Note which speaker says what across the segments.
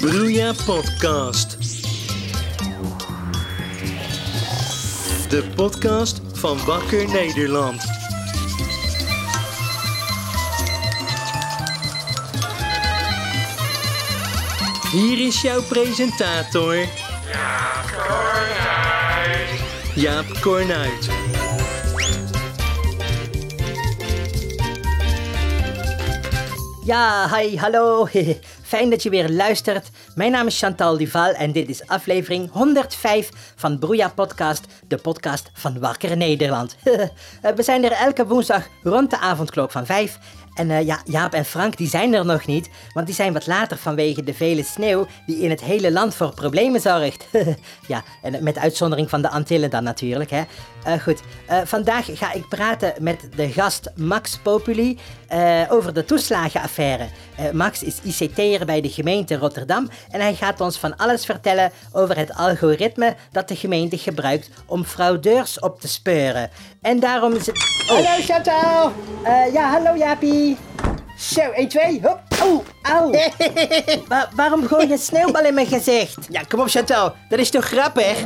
Speaker 1: Bruja Podcast. De podcast van Wakker Nederland. Hier is jouw presentator. Jaap Kornuit.
Speaker 2: Ja, hi, hallo. Fijn dat je weer luistert. Mijn naam is Chantal Duval en dit is aflevering 105 van Broeja Podcast, de podcast van Wakker Nederland. Eh, We zijn er elke woensdag rond de avondklok van 5. En eh, ja, Jaap en Frank die zijn er nog niet, want die zijn wat later vanwege de vele sneeuw die in het hele land voor problemen zorgt. ja, en met uitzondering van de Antillen dan natuurlijk. Hè. Eh, goed, eh, vandaag ga ik praten met de gast Max Populi eh, over de toeslagenaffaire. Eh, Max is ICT'er bij de gemeente Rotterdam en hij gaat ons van alles vertellen over het algoritme dat de gemeente gebruikt om fraudeurs op te speuren. En daarom is het... Hallo Chantal! Eh, ja, hallo Jaapie! Zo, 1, 2, hop! Auw, auw! Oh, Wa- waarom gooi je sneeuwbal in mijn gezicht?
Speaker 3: Ja, kom op Chantal, dat is toch grappig?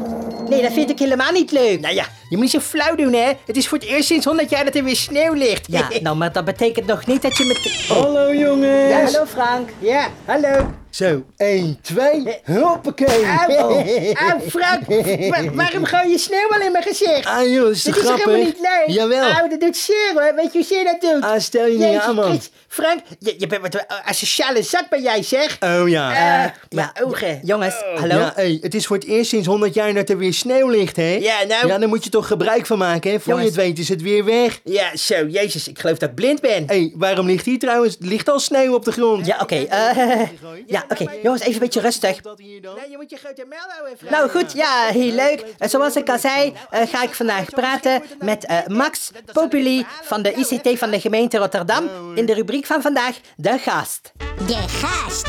Speaker 2: Nee, dat vind ik helemaal niet leuk.
Speaker 3: Nou ja, je moet niet zo flauw doen hè. Het is voor het eerst sinds 100 jaar dat er weer sneeuw ligt.
Speaker 2: Ja, nou, maar dat betekent nog niet dat je met... Oh,
Speaker 1: Hallo jongens.
Speaker 2: ja, hallo Frank.
Speaker 3: Ja, hallo.
Speaker 1: Zo, 1, 2, hoppakee.
Speaker 3: Auw, auw Ah, Frank, wa- waarom gooi je sneeuw al in mijn gezicht?
Speaker 1: Ah joh, is
Speaker 3: Dit
Speaker 1: toch
Speaker 3: is toch helemaal
Speaker 1: grappig?
Speaker 3: niet leuk?
Speaker 1: Jawel.
Speaker 3: Auw, dat doet zeer hoor, weet je hoe zeer dat doet?
Speaker 1: Ah, stel je niet
Speaker 3: Jezus
Speaker 1: aan, man.
Speaker 3: Christus, Frank, je, je bent wat een asociale zak bij jij zeg.
Speaker 1: Oh ja.
Speaker 3: Eh,
Speaker 2: ja,
Speaker 3: mijn ogen. Oh.
Speaker 2: Jongens, Eh, hallo?
Speaker 1: Ja, hey, het is voor het eerst sinds 100 jaar dat er weer sneeuw ligt, hè?
Speaker 3: Ja, nou.
Speaker 1: Ja, daar moet je toch gebruik van maken, hè? Voor
Speaker 2: Jongens.
Speaker 1: je het weet is het weer weg.
Speaker 3: Ja, zo, jezus, ik geloof dat ik blind ben.
Speaker 1: Hé, hey, waarom ligt hier trouwens? Er ligt al sneeuw op de grond.
Speaker 2: Ja, oké. eh, ja, oké. Jongens, even een beetje rustig.
Speaker 1: Dat hier dan?
Speaker 3: Nee, je moet je grote mel houden, Frank.
Speaker 2: Nou goed, ja, heel leuk. Eh, Zoals ik al zei, eh, ga ik vandaag praten met eh, Max Populi van de ICT van de gemeente Rotterdam in de rubriek van vandaag De Gast.
Speaker 4: De gast.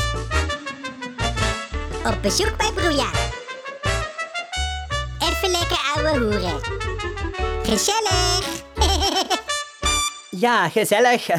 Speaker 4: Op bezoek bij Broeja. Even lekker ouwe hoeren. Gezellig.
Speaker 2: Ja, gezellig.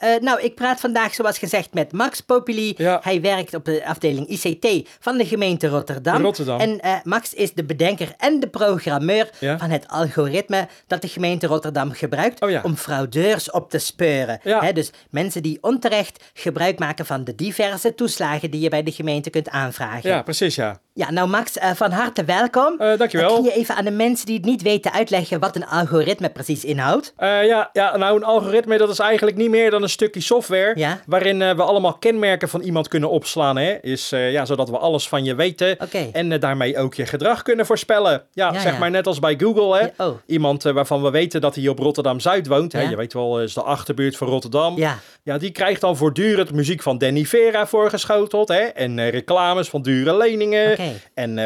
Speaker 2: Eh, nou, ik praat vandaag, zoals gezegd, met Max Populi. Hij werkt op de afdeling ICT van de gemeente Rotterdam.
Speaker 5: Rotterdam.
Speaker 2: En eh, Max is de bedenker en de programmeur
Speaker 5: Ja.
Speaker 2: van het algoritme dat de gemeente Rotterdam gebruikt
Speaker 5: Oh ja.
Speaker 2: om fraudeurs op te speuren.
Speaker 5: Ja.
Speaker 2: Hè, dus mensen die onterecht gebruik maken van de diverse toeslagen die je bij de gemeente kunt aanvragen.
Speaker 5: Ja, precies, ja.
Speaker 2: Ja, nou Max, eh, van harte welkom.
Speaker 5: Eh, dankjewel.
Speaker 2: Eh, kun je even aan de mensen die het niet weten uitleggen wat een algoritme precies inhoudt?
Speaker 5: Eh, ja, ja, nou, een algoritme dat is eigenlijk niet meer dan een stukje software.
Speaker 2: Ja.
Speaker 5: Waarin eh, we allemaal kenmerken van iemand kunnen opslaan. Hè? Is, eh, ja, zodat we alles van je weten.
Speaker 2: Oké.
Speaker 5: En eh, daarmee ook je gedrag kunnen voorspellen. Ja,
Speaker 2: Ja,
Speaker 5: zeg
Speaker 2: ja.
Speaker 5: maar net als bij Google. Hè?
Speaker 2: Ja, oh.
Speaker 5: Iemand eh, waarvan we weten dat hij op Rotterdam Zuid woont.
Speaker 2: Ja.
Speaker 5: Hè? Je weet wel, eh, is de achterbuurt van Rotterdam.
Speaker 2: Ja.
Speaker 5: ja, die krijgt dan voortdurend muziek van Danny Vera voorgeschoteld. Hè? En eh, reclames van dure leningen.
Speaker 2: Oké.
Speaker 5: En eh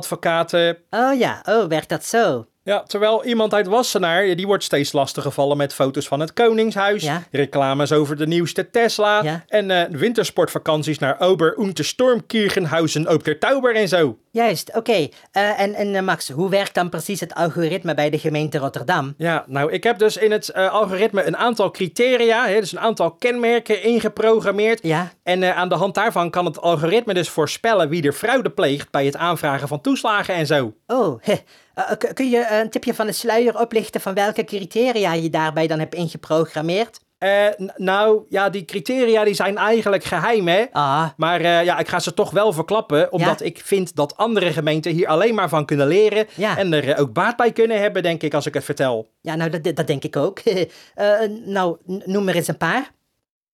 Speaker 5: Prodeo-advocaten.
Speaker 2: Oh ja, oh, werkt dat zo?
Speaker 5: Ja, terwijl iemand uit Wassenaar, die wordt steeds lastiggevallen met foto's van het Koningshuis,
Speaker 2: Ja.
Speaker 5: reclames over de nieuwste Tesla
Speaker 2: Ja.
Speaker 5: en eh, wintersportvakanties naar Ober- und Stormkirchenhausen op der Tauber en zo.
Speaker 2: Juist, oké. Eh, en en eh, Max, hoe werkt dan precies het algoritme bij de gemeente Rotterdam?
Speaker 5: Ja, nou, ik heb dus in het eh, algoritme een aantal criteria, hè, dus een aantal kenmerken ingeprogrammeerd.
Speaker 2: Ja.
Speaker 5: En eh, aan de hand daarvan kan het algoritme dus voorspellen wie er fraude pleegt bij het aanvragen van toeslagen en zo.
Speaker 2: Oh, heh. Eh, k- kun je eh, een tipje van de sluier oplichten van welke criteria je daarbij dan hebt ingeprogrammeerd?
Speaker 5: Eh, n- nou, ja, die criteria die zijn eigenlijk geheim, hè?
Speaker 2: Ah,
Speaker 5: Maar eh, ja, ik ga ze toch wel verklappen, omdat
Speaker 2: Ja.
Speaker 5: ik vind dat andere gemeenten hier alleen maar van kunnen leren.
Speaker 2: Ja.
Speaker 5: En er eh, ook baat bij kunnen hebben, denk ik, als ik het vertel.
Speaker 2: ja, nou, dat, dat denk ik ook. Eh, nou, n- noem er eens een paar.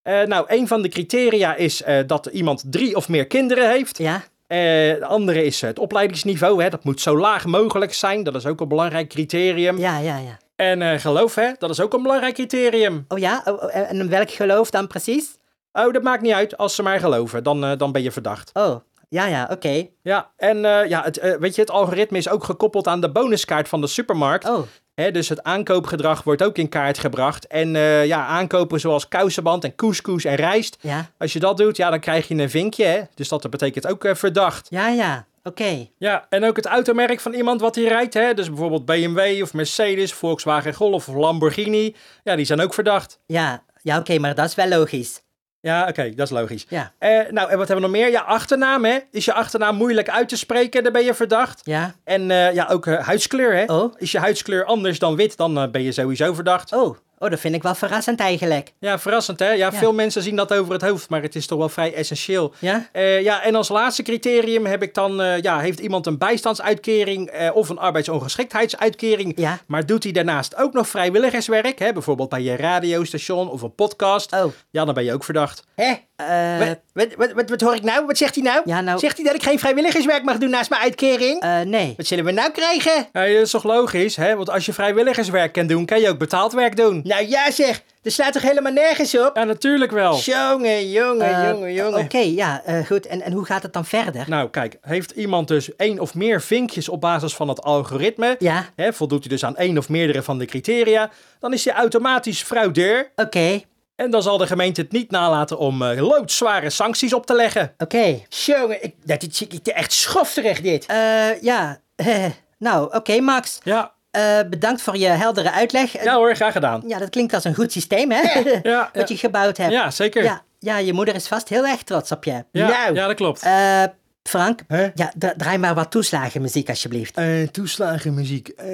Speaker 5: Eh, nou, een van de criteria is eh, dat iemand drie of meer kinderen heeft.
Speaker 2: Ja,
Speaker 5: Eh, de andere is het opleidingsniveau. Hè. Dat moet zo laag mogelijk zijn. Dat is ook een belangrijk criterium.
Speaker 2: ja, ja, ja.
Speaker 5: En eh, geloof, hè, dat is ook een belangrijk criterium.
Speaker 2: Oh ja, Oh, oh, en en welk geloof dan precies?
Speaker 5: Oh, dat maakt niet uit. Als ze maar geloven, dan, eh, dan ben je verdacht.
Speaker 2: Oh, ja, ja, oké.
Speaker 5: Ja, en eh, ja, het, eh, weet je, het algoritme is ook gekoppeld aan de bonuskaart van de supermarkt.
Speaker 2: Oh,
Speaker 5: Hè, dus het aankoopgedrag wordt ook in kaart gebracht. En eh, ja, aankopen zoals kousenband en couscous en rijst.
Speaker 2: ja,
Speaker 5: Als je dat doet, ja, dan krijg je een vinkje. Hè? Dus dat betekent ook eh, verdacht.
Speaker 2: ja, ja, oké.
Speaker 5: Ja, en ook het automerk van iemand wat hij rijdt. Hè? Dus bijvoorbeeld BMW of Mercedes, Volkswagen Golf of Lamborghini. Ja, die zijn ook verdacht.
Speaker 2: Ja, ja oké, maar dat is wel logisch.
Speaker 5: Ja, oké, dat is logisch.
Speaker 2: Ja.
Speaker 5: Eh, nou, en wat hebben we nog meer? Ja, achternaam, hè? Is je achternaam moeilijk uit te spreken, dan ben je verdacht.
Speaker 2: Ja.
Speaker 5: En eh, ja, ook eh, huidskleur, hè?
Speaker 2: Oh.
Speaker 5: Is je huidskleur anders dan wit, dan eh, ben je sowieso verdacht.
Speaker 2: Oh, oh, dat vind ik wel verrassend eigenlijk.
Speaker 5: Ja, verrassend, hè? Ja, veel mensen zien dat over het hoofd, maar het is toch wel vrij essentieel.
Speaker 2: Ja?
Speaker 5: Eh, ja, en als laatste criterium heb ik dan, eh, ja, heeft iemand een bijstandsuitkering eh, of een arbeidsongeschiktheidsuitkering,
Speaker 2: Ja.
Speaker 5: maar doet hij daarnaast ook nog vrijwilligerswerk, hè? bijvoorbeeld bij je radiostation of een podcast,
Speaker 2: Oh.
Speaker 5: ja, dan ben je ook verdacht.
Speaker 3: Hè?
Speaker 2: Eh,
Speaker 3: Wat, wat, wat, wat, wat hoor ik nou? Wat zegt hij nou?
Speaker 2: Ja, nou-
Speaker 3: Zegt hij dat ik geen vrijwilligerswerk mag doen naast mijn uitkering?
Speaker 2: eh, nee.
Speaker 3: Wat zullen we nou krijgen?
Speaker 5: Ja, dat is toch logisch, hè? Want als je vrijwilligerswerk kan doen, kan je ook betaald werk doen.
Speaker 3: Nou ja zeg, dat slaat toch helemaal nergens op?
Speaker 5: Ja, natuurlijk wel.
Speaker 3: Jongen, jongen,
Speaker 2: Eh,
Speaker 3: jongen, jongen.
Speaker 2: Oké, ja, eh, goed. En, en hoe gaat het dan verder?
Speaker 5: Nou, kijk, heeft iemand dus één of meer vinkjes op basis van het algoritme,
Speaker 2: Ja.
Speaker 5: hè, voldoet hij dus aan één of meerdere van de criteria, dan is hij automatisch fraudeur.
Speaker 2: Oké,
Speaker 5: En dan zal de gemeente het niet nalaten om eh, loodzware sancties op te leggen.
Speaker 2: oké.
Speaker 3: Jongen, ik, dat is ik- echt schofterig dit.
Speaker 2: Eh, ja, nou, oké, Max.
Speaker 5: Ja,
Speaker 2: Eh, bedankt voor je heldere uitleg. Eh,
Speaker 5: ja hoor, graag gedaan.
Speaker 2: ja, dat klinkt als een goed systeem, hè?
Speaker 5: ja.
Speaker 2: Wat je gebouwd hebt.
Speaker 5: Ja, zeker.
Speaker 2: Ja, ja, je moeder is vast heel erg trots op je.
Speaker 5: Ja,
Speaker 3: Nou.
Speaker 5: ja dat klopt.
Speaker 2: Eh, Frank,
Speaker 1: Hè?
Speaker 2: ja, dra- draai maar wat toeslagenmuziek alsjeblieft.
Speaker 1: Eh, toeslagenmuziek. Eh,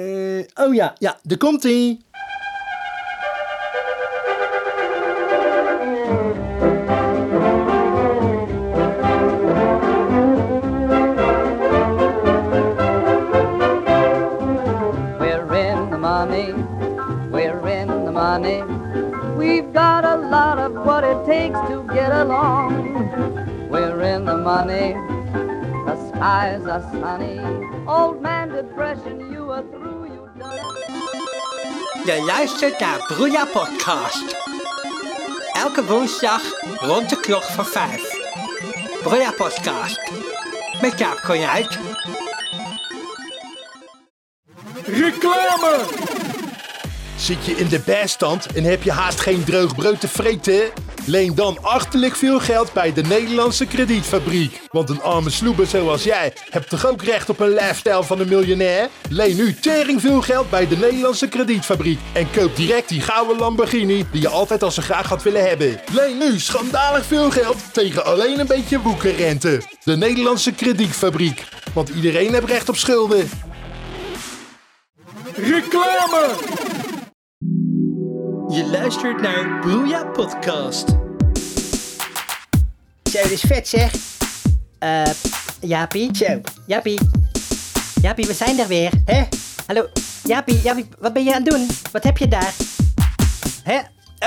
Speaker 1: oh ja, ja, daar komt ie.
Speaker 6: We're in the money. We're in the money. We've got a lot of what it takes to get along. We're in the money. The skies are sunny. Old man depression, you are through, you done.
Speaker 7: Je luistert naar Broeia Podcast. Elke woensdag rond de klok van vijf. Broeia Podcast. Met Jaap Konjuit.
Speaker 1: Reclame! Zit je in de bijstand en heb je haast geen droog brood te vreten? Leen dan achterlijk veel geld bij de Nederlandse kredietfabriek. Want een arme sloeber zoals jij hebt toch ook recht op een lifestyle van een miljonair? Leen nu tering veel geld bij de Nederlandse kredietfabriek. En koop direct die gouden Lamborghini die je altijd al zo graag had willen hebben. Leen nu schandalig veel geld tegen alleen een beetje woekerrente. De Nederlandse kredietfabriek. Want iedereen heeft recht op schulden. Reclame!
Speaker 7: Je luistert naar Broeia Podcast.
Speaker 3: Zo, dat is vet zeg.
Speaker 2: Eh, Jaapie?
Speaker 3: Zo,
Speaker 2: Jaapie? Jaapie, we zijn er weer.
Speaker 3: hè?
Speaker 2: Hallo, Jaapie, Jaapie, wat ben je aan het doen? Wat heb je daar?
Speaker 3: Hè?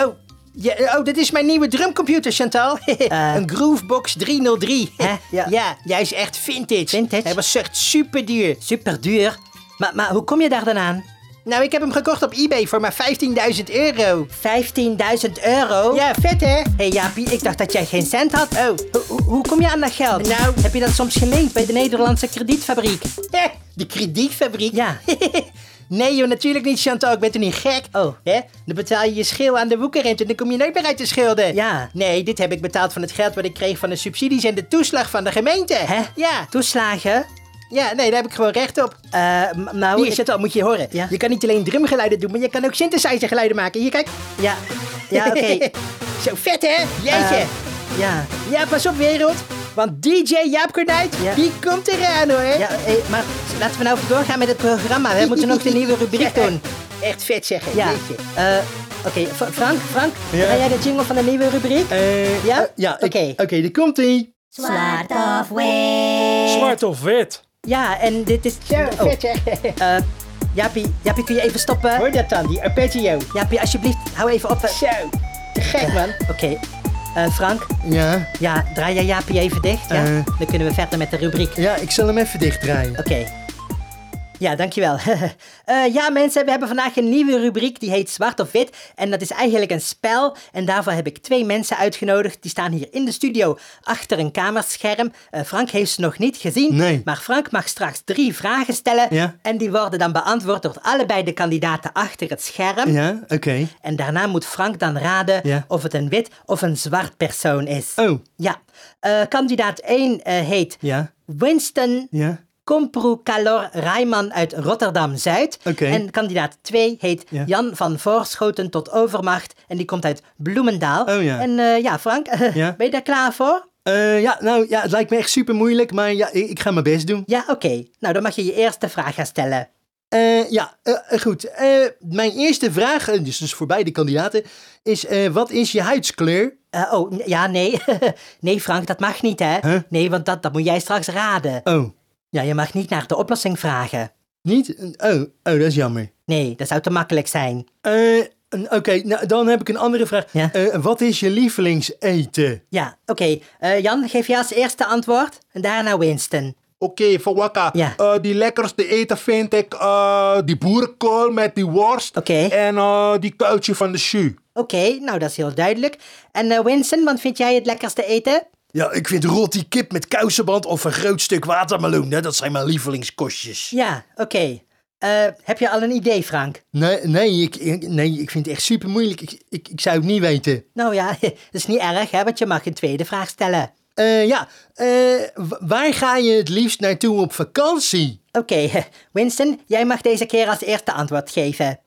Speaker 3: Oh, ja, oh, dit is mijn nieuwe drumcomputer, Chantal. Eh. een Groovebox 303.
Speaker 2: Hè? Ja.
Speaker 3: Ja. jij is echt vintage.
Speaker 2: Vintage?
Speaker 3: Hij was echt super duur.
Speaker 2: Super duur. Maar, maar hoe kom je daar dan aan?
Speaker 3: Nou, ik heb hem gekocht op eBay voor maar 15.000 euro.
Speaker 2: 15.000 euro?
Speaker 3: Ja, vet hè?
Speaker 2: Hé hey Jaapie, ik dacht dat jij geen cent had.
Speaker 3: Oh.
Speaker 2: Hoe- hoe- hoe kom je aan dat geld?
Speaker 3: Nou-
Speaker 2: Heb je dat soms geleend bij de Nederlandse kredietfabriek?
Speaker 3: Hè? De kredietfabriek?
Speaker 2: Ja.
Speaker 3: Nee joh, natuurlijk niet Chantal, ik ben toen niet gek.
Speaker 2: Oh.
Speaker 3: Hè? Dan betaal je je schil aan de woekerrente en dan kom je nooit meer uit de schulden.
Speaker 2: Ja.
Speaker 3: Nee, dit heb ik betaald van het geld wat ik kreeg van de subsidies en de toeslag van de gemeente.
Speaker 2: Hè?
Speaker 3: Ja.
Speaker 2: Toeslagen?
Speaker 3: Ja, nee, daar heb ik gewoon recht op.
Speaker 2: Eh, m- nou...
Speaker 3: Hier,
Speaker 2: ik-
Speaker 3: Chantal, moet je horen.
Speaker 2: Ja.
Speaker 3: Je kan niet alleen drumgeluiden doen, maar je kan ook synthesizergeluiden maken. Hier, kijk.
Speaker 2: Ja, ja oké.
Speaker 3: Zo vet, hè? Jeetje.
Speaker 2: Eh. Ja,
Speaker 3: Ja, pas op, wereld. Want DJ Jaap Kornuit,
Speaker 2: Ja.
Speaker 3: die komt eraan, hoor.
Speaker 2: ja hé, maar laten we nou doorgaan met het programma. We moeten nog de nieuwe rubriek
Speaker 3: Ja,
Speaker 2: doen.
Speaker 3: Echt vet zeggen.
Speaker 2: Ja.
Speaker 3: jeetje.
Speaker 2: Eh, Oké, Fra- Frank, Frank, ga jij de jingle van de nieuwe rubriek?
Speaker 1: Eh,
Speaker 2: Ja?
Speaker 1: eh, ja, ik-
Speaker 2: Oké.
Speaker 1: Oké, daar komt ie.
Speaker 4: Zwart of wit.
Speaker 5: Zwart of wit?
Speaker 2: Ja, en dit is...
Speaker 3: Zo,
Speaker 2: oh,
Speaker 3: vet zeggen.
Speaker 2: eh, Jaapie, Jaapie, kun je even stoppen?
Speaker 3: Hoor dat dan, die arpeggio.
Speaker 2: Jaapie, alsjeblieft, hou even op. Oké,
Speaker 3: Zo. Te gek, man.
Speaker 2: Eh, Frank,
Speaker 1: Ja,
Speaker 2: ja, draai jij Jaapie even dicht? Ja?
Speaker 1: Eh.
Speaker 2: Dan kunnen we verder met de rubriek.
Speaker 1: ja, ik zal hem even dichtdraaien.
Speaker 2: Oké. Ja, dankjewel. Eh ja, mensen, we hebben vandaag een nieuwe rubriek die heet Zwart of Wit. En dat is eigenlijk een spel. En daarvoor heb ik twee mensen uitgenodigd. Die staan hier in de studio achter een kamerscherm. Eh, Frank heeft ze nog niet gezien.
Speaker 1: Nee.
Speaker 2: Maar Frank mag straks drie vragen stellen.
Speaker 1: Ja.
Speaker 2: En die worden dan beantwoord door allebei de kandidaten achter het scherm.
Speaker 1: Ja, oké.
Speaker 2: En daarna moet Frank dan raden
Speaker 1: Ja.
Speaker 2: of het een wit of een zwart persoon is.
Speaker 1: Oh.
Speaker 2: Ja. Eh, kandidaat 1 heet
Speaker 1: Ja,
Speaker 2: Winston
Speaker 1: ja,
Speaker 2: Kompru Kalor Rijman uit Rotterdam-Zuid.
Speaker 5: Oké.
Speaker 2: En kandidaat 2 heet
Speaker 5: Ja.
Speaker 2: Jan van Voorschoten tot Overmacht. En die komt uit Bloemendaal.
Speaker 5: Oh, ja.
Speaker 2: En eh, ja, Frank,
Speaker 5: Ja.
Speaker 2: ben je daar klaar voor?
Speaker 5: Eh, ja, nou ja, het lijkt me echt super moeilijk, maar ja, ik, ik ga mijn best doen.
Speaker 2: Ja, oké. Nou, dan mag je je eerste vraag gaan stellen.
Speaker 5: Eh, ja, eh, goed. Eh, mijn eerste vraag, eh, dus, dus voor beide kandidaten, is: eh, wat is je huidskleur?
Speaker 2: Eh, oh, n- ja, nee. nee, Frank, dat mag niet, hè?
Speaker 5: Huh?
Speaker 2: Nee, want dat, dat moet jij straks raden.
Speaker 5: Oh,
Speaker 2: Ja, je mag niet naar de oplossing vragen.
Speaker 5: niet? Oh, oh dat is jammer.
Speaker 2: Nee, dat zou te makkelijk zijn.
Speaker 5: Eh, n- Oké, nou, dan heb ik een andere vraag.
Speaker 2: Ja.
Speaker 5: Eh, wat is je lievelingseten?
Speaker 2: Ja, oké. Eh, Jan, geef jij als eerste antwoord en daarna Winston.
Speaker 8: Oké, voor Wakka.
Speaker 2: Ja.
Speaker 8: Eh, die lekkerste eten vind ik eh, die boerenkool met die worst.
Speaker 2: Oké.
Speaker 8: En eh, die kuiltje van de shoe.
Speaker 2: Oké, nou dat is heel duidelijk. En eh, Winston, wat vind jij het lekkerste eten?
Speaker 5: Ja, ik vind rotti kip met kousenband of een groot stuk watermeloen. Hè? Dat zijn mijn lievelingskostjes.
Speaker 2: Ja, oké. Eh, heb je al een idee, Frank?
Speaker 5: Nee, nee, ik, ik- nee, ik vind het echt super moeilijk. Ik, ik, ik zou het niet weten.
Speaker 2: Nou ja, dat is niet erg, hè, want je mag een tweede vraag stellen.
Speaker 5: Eh, ja, eh, wa- waar ga je het liefst naartoe op vakantie?
Speaker 2: Oké, Winston, jij mag deze keer als eerste antwoord geven.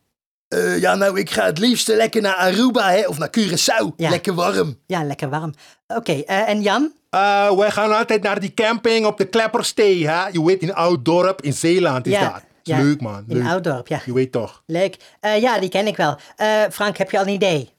Speaker 5: Eh, ja, nou, ik ga het liefst lekker naar Aruba hè, of naar Curaçao.
Speaker 2: Ja.
Speaker 5: Lekker warm.
Speaker 2: Ja, lekker warm. Oké, eh, en Jan?
Speaker 8: Eh, wij gaan altijd naar die camping op de Klepperstee, hè? Je weet, in Ouddorp in Zeeland is
Speaker 2: Ja,
Speaker 8: dat. Is
Speaker 2: ja.
Speaker 8: Leuk, man.
Speaker 2: In
Speaker 8: Leuk.
Speaker 2: Ouddorp, ja.
Speaker 8: Je weet toch.
Speaker 2: Leuk. Eh, ja, die ken ik wel. Eh, Frank, heb je al een idee?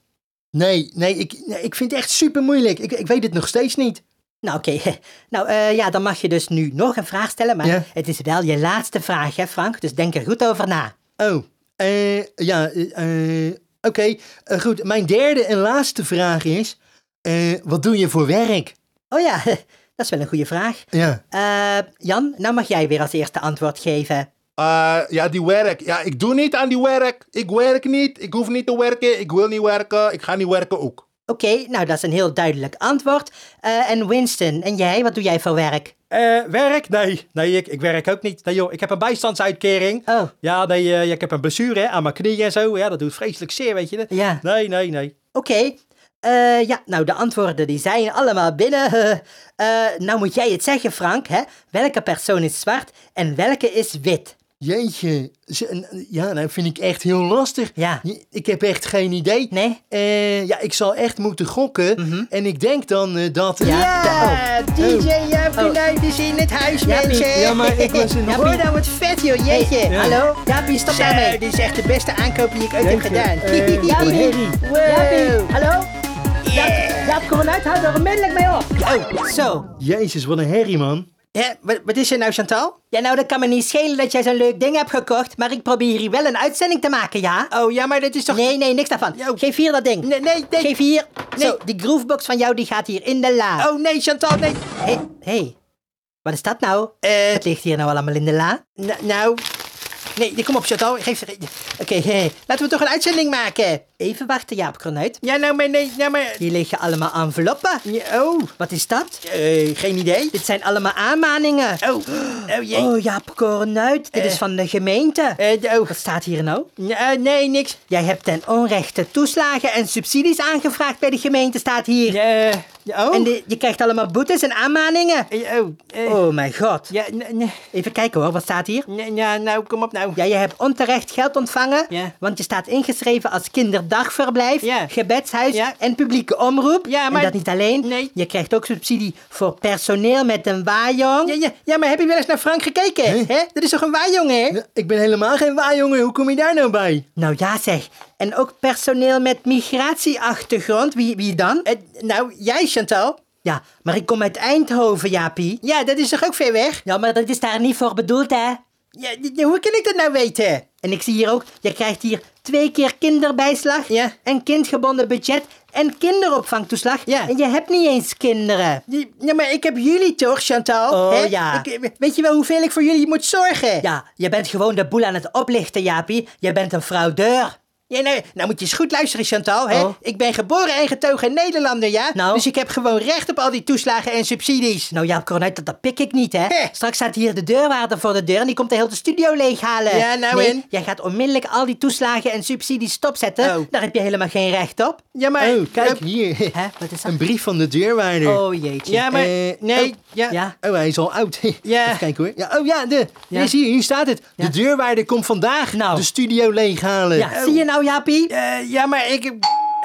Speaker 5: Nee, nee, ik, nee, ik vind het echt super moeilijk. Ik, ik weet het nog steeds niet.
Speaker 2: Nou, oké. Nou, eh, ja, dan mag je dus nu nog een vraag stellen, maar
Speaker 5: Ja.
Speaker 2: het is wel je laatste vraag, hè, Frank? Dus denk er goed over na.
Speaker 5: Oh, eh, ja, eh, eh, oké. Eh, goed, mijn derde en laatste vraag is... eh, wat doe je voor werk?
Speaker 2: Oh ja, dat is wel een goede vraag.
Speaker 5: Ja.
Speaker 2: Eh, Jan, nou mag jij weer als eerste antwoord geven.
Speaker 8: Eh, ja, die werk. Ja, ik doe niet aan die werk. Ik werk niet. Ik hoef niet te werken. Ik wil niet werken. Ik ga niet werken ook.
Speaker 2: Oké, nou dat is een heel duidelijk antwoord. Eh, en Winston, en jij, wat doe jij voor werk?
Speaker 9: Eh, werk? Nee. Nee, ik, ik werk ook niet. Nee joh, ik heb een bijstandsuitkering.
Speaker 2: Oh.
Speaker 9: Ja, nee, eh, ja, ik heb een blessure hè, aan mijn knie en zo. Ja, dat doet vreselijk zeer, weet je.
Speaker 2: Ja.
Speaker 9: Nee, nee, nee.
Speaker 2: Oké. Eh, ja, nou de antwoorden die zijn allemaal binnen. Eh, nou moet jij het zeggen, Frank. Hè? Welke persoon is zwart en welke is wit?
Speaker 5: Jeetje. Ze- n- Ja, nou vind ik echt heel lastig.
Speaker 2: Ja.
Speaker 5: Je- Ik heb echt geen idee.
Speaker 2: Nee?
Speaker 5: Eh, ja, ik zal echt moeten gokken. En ik denk dan eh, dat...
Speaker 2: Mhm.
Speaker 5: Oh.
Speaker 2: Ja.
Speaker 5: DJ
Speaker 2: Jappie
Speaker 5: is in het huis,
Speaker 2: mensen.
Speaker 5: Ja, maar ik was in de
Speaker 2: Jappie. Hoor
Speaker 5: hoek.
Speaker 2: nou,
Speaker 5: wat vet, joh. Jeetje.
Speaker 2: Hey, Hallo? Jappie, stop daarmee.
Speaker 5: is echt de beste aankoop die ik ooit heb gedaan.
Speaker 2: Jappie. Jappie. Hallo? Jap, Jap, kom eruit. Houd er onmiddellijk mee op. Oh, zo.
Speaker 5: Jezus, wat een herrie, man.
Speaker 2: Hè, wat, wat is er nou, Chantal? Ja, nou, dat kan me niet schelen dat jij zo'n leuk ding hebt gekocht, maar ik probeer hier wel een uitzending te maken, ja?
Speaker 5: Oh, ja, maar dat is toch...
Speaker 2: Nee, nee, niks daarvan.
Speaker 5: Yo.
Speaker 2: Geef hier dat ding.
Speaker 5: Nee, nee, nee.
Speaker 2: Geef hier.
Speaker 5: Nee.
Speaker 2: Zo, die groovebox van jou, die gaat hier in de la.
Speaker 5: Oh, nee, Chantal, nee.
Speaker 2: Hé, hey, hey. wat is dat nou?
Speaker 5: Eh,
Speaker 2: Het ligt hier nou allemaal in de la.
Speaker 5: n- nou... Nee, nee, kom op, Chantal. Geef... Oké,
Speaker 2: eh,
Speaker 5: hè. laten we toch een uitzending maken.
Speaker 2: Even wachten, Jaap Kronuit.
Speaker 5: Ja, nou, maar nee, nou, maar...
Speaker 2: Hier liggen allemaal enveloppen.
Speaker 5: Ja, oh,
Speaker 2: Wat is dat?
Speaker 5: eh, geen idee.
Speaker 2: Dit zijn allemaal aanmaningen.
Speaker 5: Oh, oh, jee.
Speaker 2: Oh, Jaap Kronuit, dit
Speaker 5: Eh.
Speaker 2: is van de gemeente.
Speaker 5: Eh, d- oh.
Speaker 2: Wat staat hier nou?
Speaker 5: Ja, eh, nee, niks.
Speaker 2: Jij hebt ten onrechte toeslagen en subsidies aangevraagd bij de gemeente, staat hier.
Speaker 5: Eh, ja, oh.
Speaker 2: En de- je krijgt allemaal boetes en aanmaningen.
Speaker 5: Eh, oh, eh,
Speaker 2: Oh mijn god.
Speaker 5: Ja, nee, nee,
Speaker 2: Even kijken hoor, wat staat hier?
Speaker 5: nee, nou, nou, kom op nou.
Speaker 2: Ja, je hebt onterecht geld ontvangen,
Speaker 5: Ja.
Speaker 2: want je staat ingeschreven als kinderdagverblijf,
Speaker 5: Ja.
Speaker 2: gebedshuis
Speaker 5: Ja.
Speaker 2: en publieke omroep.
Speaker 5: Ja, maar-
Speaker 2: En dat niet alleen.
Speaker 5: Nee.
Speaker 2: Je krijgt ook subsidie voor personeel met een waaijong.
Speaker 5: Ja, ja, ja, maar heb je wel eens naar Frank gekeken? Hè? Dat is toch een waarjongen, hè? ik ben helemaal geen waarjongen. Hoe kom je daar nou bij?
Speaker 2: Nou ja zeg. En ook personeel met migratieachtergrond. Wie, wie dan?
Speaker 5: nou, jij, Chantal.
Speaker 2: Ja, maar ik kom uit Eindhoven, Jaapie.
Speaker 5: Ja, dat is toch ook ver weg?
Speaker 2: Ja, maar dat is daar niet voor bedoeld, hè?
Speaker 5: Ja, d- d- hoe kan ik dat nou weten?
Speaker 2: En ik zie hier ook, je krijgt hier twee keer kinderbijslag
Speaker 5: Ja.
Speaker 2: en kindgebonden budget en kinderopvangtoeslag.
Speaker 5: Ja.
Speaker 2: En je hebt niet eens kinderen.
Speaker 5: Die- Ja, maar ik heb jullie toch, Chantal?
Speaker 2: Oh,
Speaker 5: hè?
Speaker 2: ja.
Speaker 5: Ik- weet je wel hoeveel ik voor jullie moet zorgen?
Speaker 2: Ja, je bent gewoon de boel aan het oplichten, Jaapie. Je bent een fraudeur. Ja, nou, nou moet je eens goed luisteren, Chantal. Hè?
Speaker 10: Oh.
Speaker 2: Ik ben geboren en getogen Nederlander, ja?
Speaker 10: Nou.
Speaker 2: Dus ik heb gewoon recht op al die toeslagen en subsidies.
Speaker 10: Nou ja, Cornuit, dat, dat pik ik niet, hè.
Speaker 2: Hè?
Speaker 10: Straks staat hier de deurwaarder voor de deur en die komt de hele studio leeghalen.
Speaker 2: Ja, nou
Speaker 10: nee,
Speaker 2: en?
Speaker 10: Jij gaat onmiddellijk al die toeslagen en subsidies stopzetten.
Speaker 2: Oh.
Speaker 10: Daar heb je helemaal geen recht op.
Speaker 2: Ja, maar...
Speaker 1: Oh, kijk
Speaker 2: Eh,
Speaker 1: hier.
Speaker 10: Hè, wat is dat?
Speaker 1: Een brief van de deurwaarder.
Speaker 10: Oh jeetje.
Speaker 2: Ja, maar...
Speaker 1: Eh,
Speaker 2: nee,
Speaker 1: oh.
Speaker 2: ja.
Speaker 10: Ja.
Speaker 1: Oh, hij is al oud.
Speaker 2: Ja.
Speaker 1: Even kijken hoor. Ja, oh ja, de,
Speaker 10: Ja.
Speaker 1: nee, zie je, hier staat het.
Speaker 10: Ja.
Speaker 1: De deurwaarder komt vandaag
Speaker 10: Nou.
Speaker 1: de studio leeghalen.
Speaker 10: Ja, zie je nou, Jaapie?
Speaker 2: Eh, ja, maar ik...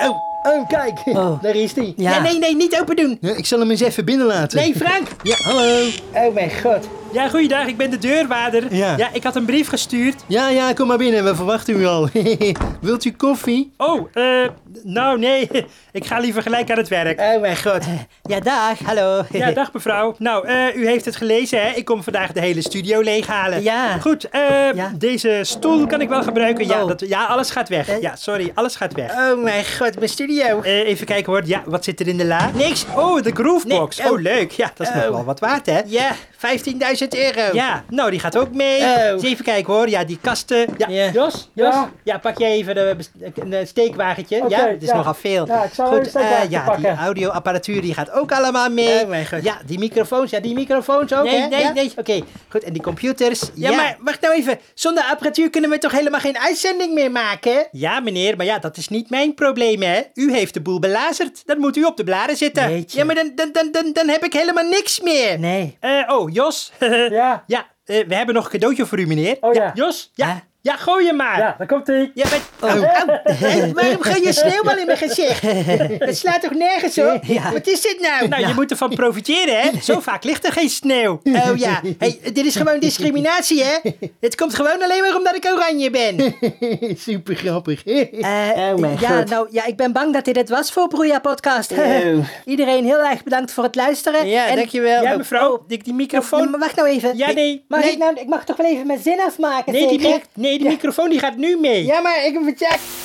Speaker 2: Oh.
Speaker 1: Oh, kijk.
Speaker 10: Oh.
Speaker 1: Daar is hij.
Speaker 10: Ja.
Speaker 2: Ja, nee, nee, niet open doen.
Speaker 1: Ik zal hem eens even binnen laten.
Speaker 2: Nee, Frank.
Speaker 1: Ja, hallo.
Speaker 2: Oh mijn god.
Speaker 5: Ja, goeiedag, ik ben de deurwaarder.
Speaker 1: Ja.
Speaker 5: ik had een brief gestuurd.
Speaker 1: Ja, ja, kom maar binnen. We verwachten u al. Wilt u koffie?
Speaker 5: Oh, eh, nou nee, ik ga liever gelijk aan het werk.
Speaker 2: Oh mijn god.
Speaker 10: Ja, dag. Hallo.
Speaker 5: Ja, dag mevrouw. Nou, eh, u heeft het gelezen hè, ik kom vandaag de hele studio leeghalen.
Speaker 10: Ja.
Speaker 5: Goed, eh,
Speaker 10: Ja.
Speaker 5: deze stoel kan ik wel gebruiken. Ja,
Speaker 10: Oh.
Speaker 5: dat, ja alles gaat weg.
Speaker 10: Eh.
Speaker 5: Ja, sorry, alles gaat weg.
Speaker 2: Oh mijn god, mijn studio.
Speaker 5: Eh, even kijken hoor, ja, wat zit er in de la?
Speaker 2: Niks.
Speaker 5: Oh, de groovebox.
Speaker 2: Nee, oh.
Speaker 5: oh. leuk, ja, dat is nog
Speaker 2: Oh.
Speaker 5: wel wat waard hè.
Speaker 2: Ja, 15.000 euro.
Speaker 5: Ja, nou die gaat ook mee.
Speaker 2: Oh.
Speaker 1: Eh,
Speaker 5: Eens even kijken hoor. Ja, die kasten. Ja.
Speaker 2: Ja.
Speaker 5: Jos, Jos. Ja. pak jij even de bes- een eh, steekwagentje. ja, het is nogal veel. Ja, ik zal Goed, eh, ja, die audioapparatuur die gaat ook allemaal mee.
Speaker 2: Oh mijn god.
Speaker 5: ja, die microfoons. Ja, die microfoons ook.
Speaker 2: Nee,
Speaker 5: hè?
Speaker 2: nee,
Speaker 5: Ja?
Speaker 2: nee.
Speaker 5: Oké, goed. En die computers.
Speaker 2: Ja, maar wacht nou even. Zonder apparatuur kunnen we toch helemaal geen uitzending meer maken?
Speaker 5: Ja, meneer, maar ja, dat is niet mijn probleem, hè? U heeft de boel belazerd. Dan moet u op de blaren zitten.
Speaker 10: Jeetje.
Speaker 2: Ja, maar dan, dan, dan, dan, dan heb ik helemaal niks meer.
Speaker 10: Nee.
Speaker 5: Eh, oh, Jos. ja. Ja, eh, we hebben nog een cadeautje voor u, meneer.
Speaker 11: Oh, ja.
Speaker 5: Jos, ja.
Speaker 10: Huh?
Speaker 5: Ja, gooi hem maar.
Speaker 11: Ja, daar komt hij.
Speaker 2: Ja, maar... Oh, oh. Hey, waarom gooi je sneeuwbal in mijn gezicht? Dat slaat toch nergens op?
Speaker 10: Ja.
Speaker 2: Wat is dit nou?
Speaker 5: Nou, je moet ervan profiteren, hè? Zo vaak ligt er geen sneeuw.
Speaker 2: Oh ja, hey, dit is gewoon discriminatie, hè? Het komt gewoon alleen maar omdat ik oranje ben.
Speaker 1: Super grappig.
Speaker 10: Eh,
Speaker 2: Oh mijn
Speaker 10: ja,
Speaker 2: god.
Speaker 10: nou, ja, ik ben bang dat dit het was voor Broeia Podcast.
Speaker 2: Oh.
Speaker 10: Iedereen heel erg bedankt voor het luisteren. En-
Speaker 2: dankjewel.
Speaker 5: Ja, mevrouw, die, die microfoon.
Speaker 10: Oh. Ja, maar wacht nou even.
Speaker 5: Ja, nee.
Speaker 10: Mag
Speaker 2: Nee.
Speaker 10: Ik, nou, ik mag toch wel even mijn zin afmaken?
Speaker 5: Nee, die,
Speaker 10: zeker?
Speaker 5: mic- nee, die microfoon die gaat nu mee.
Speaker 2: Ja, maar ik heb het...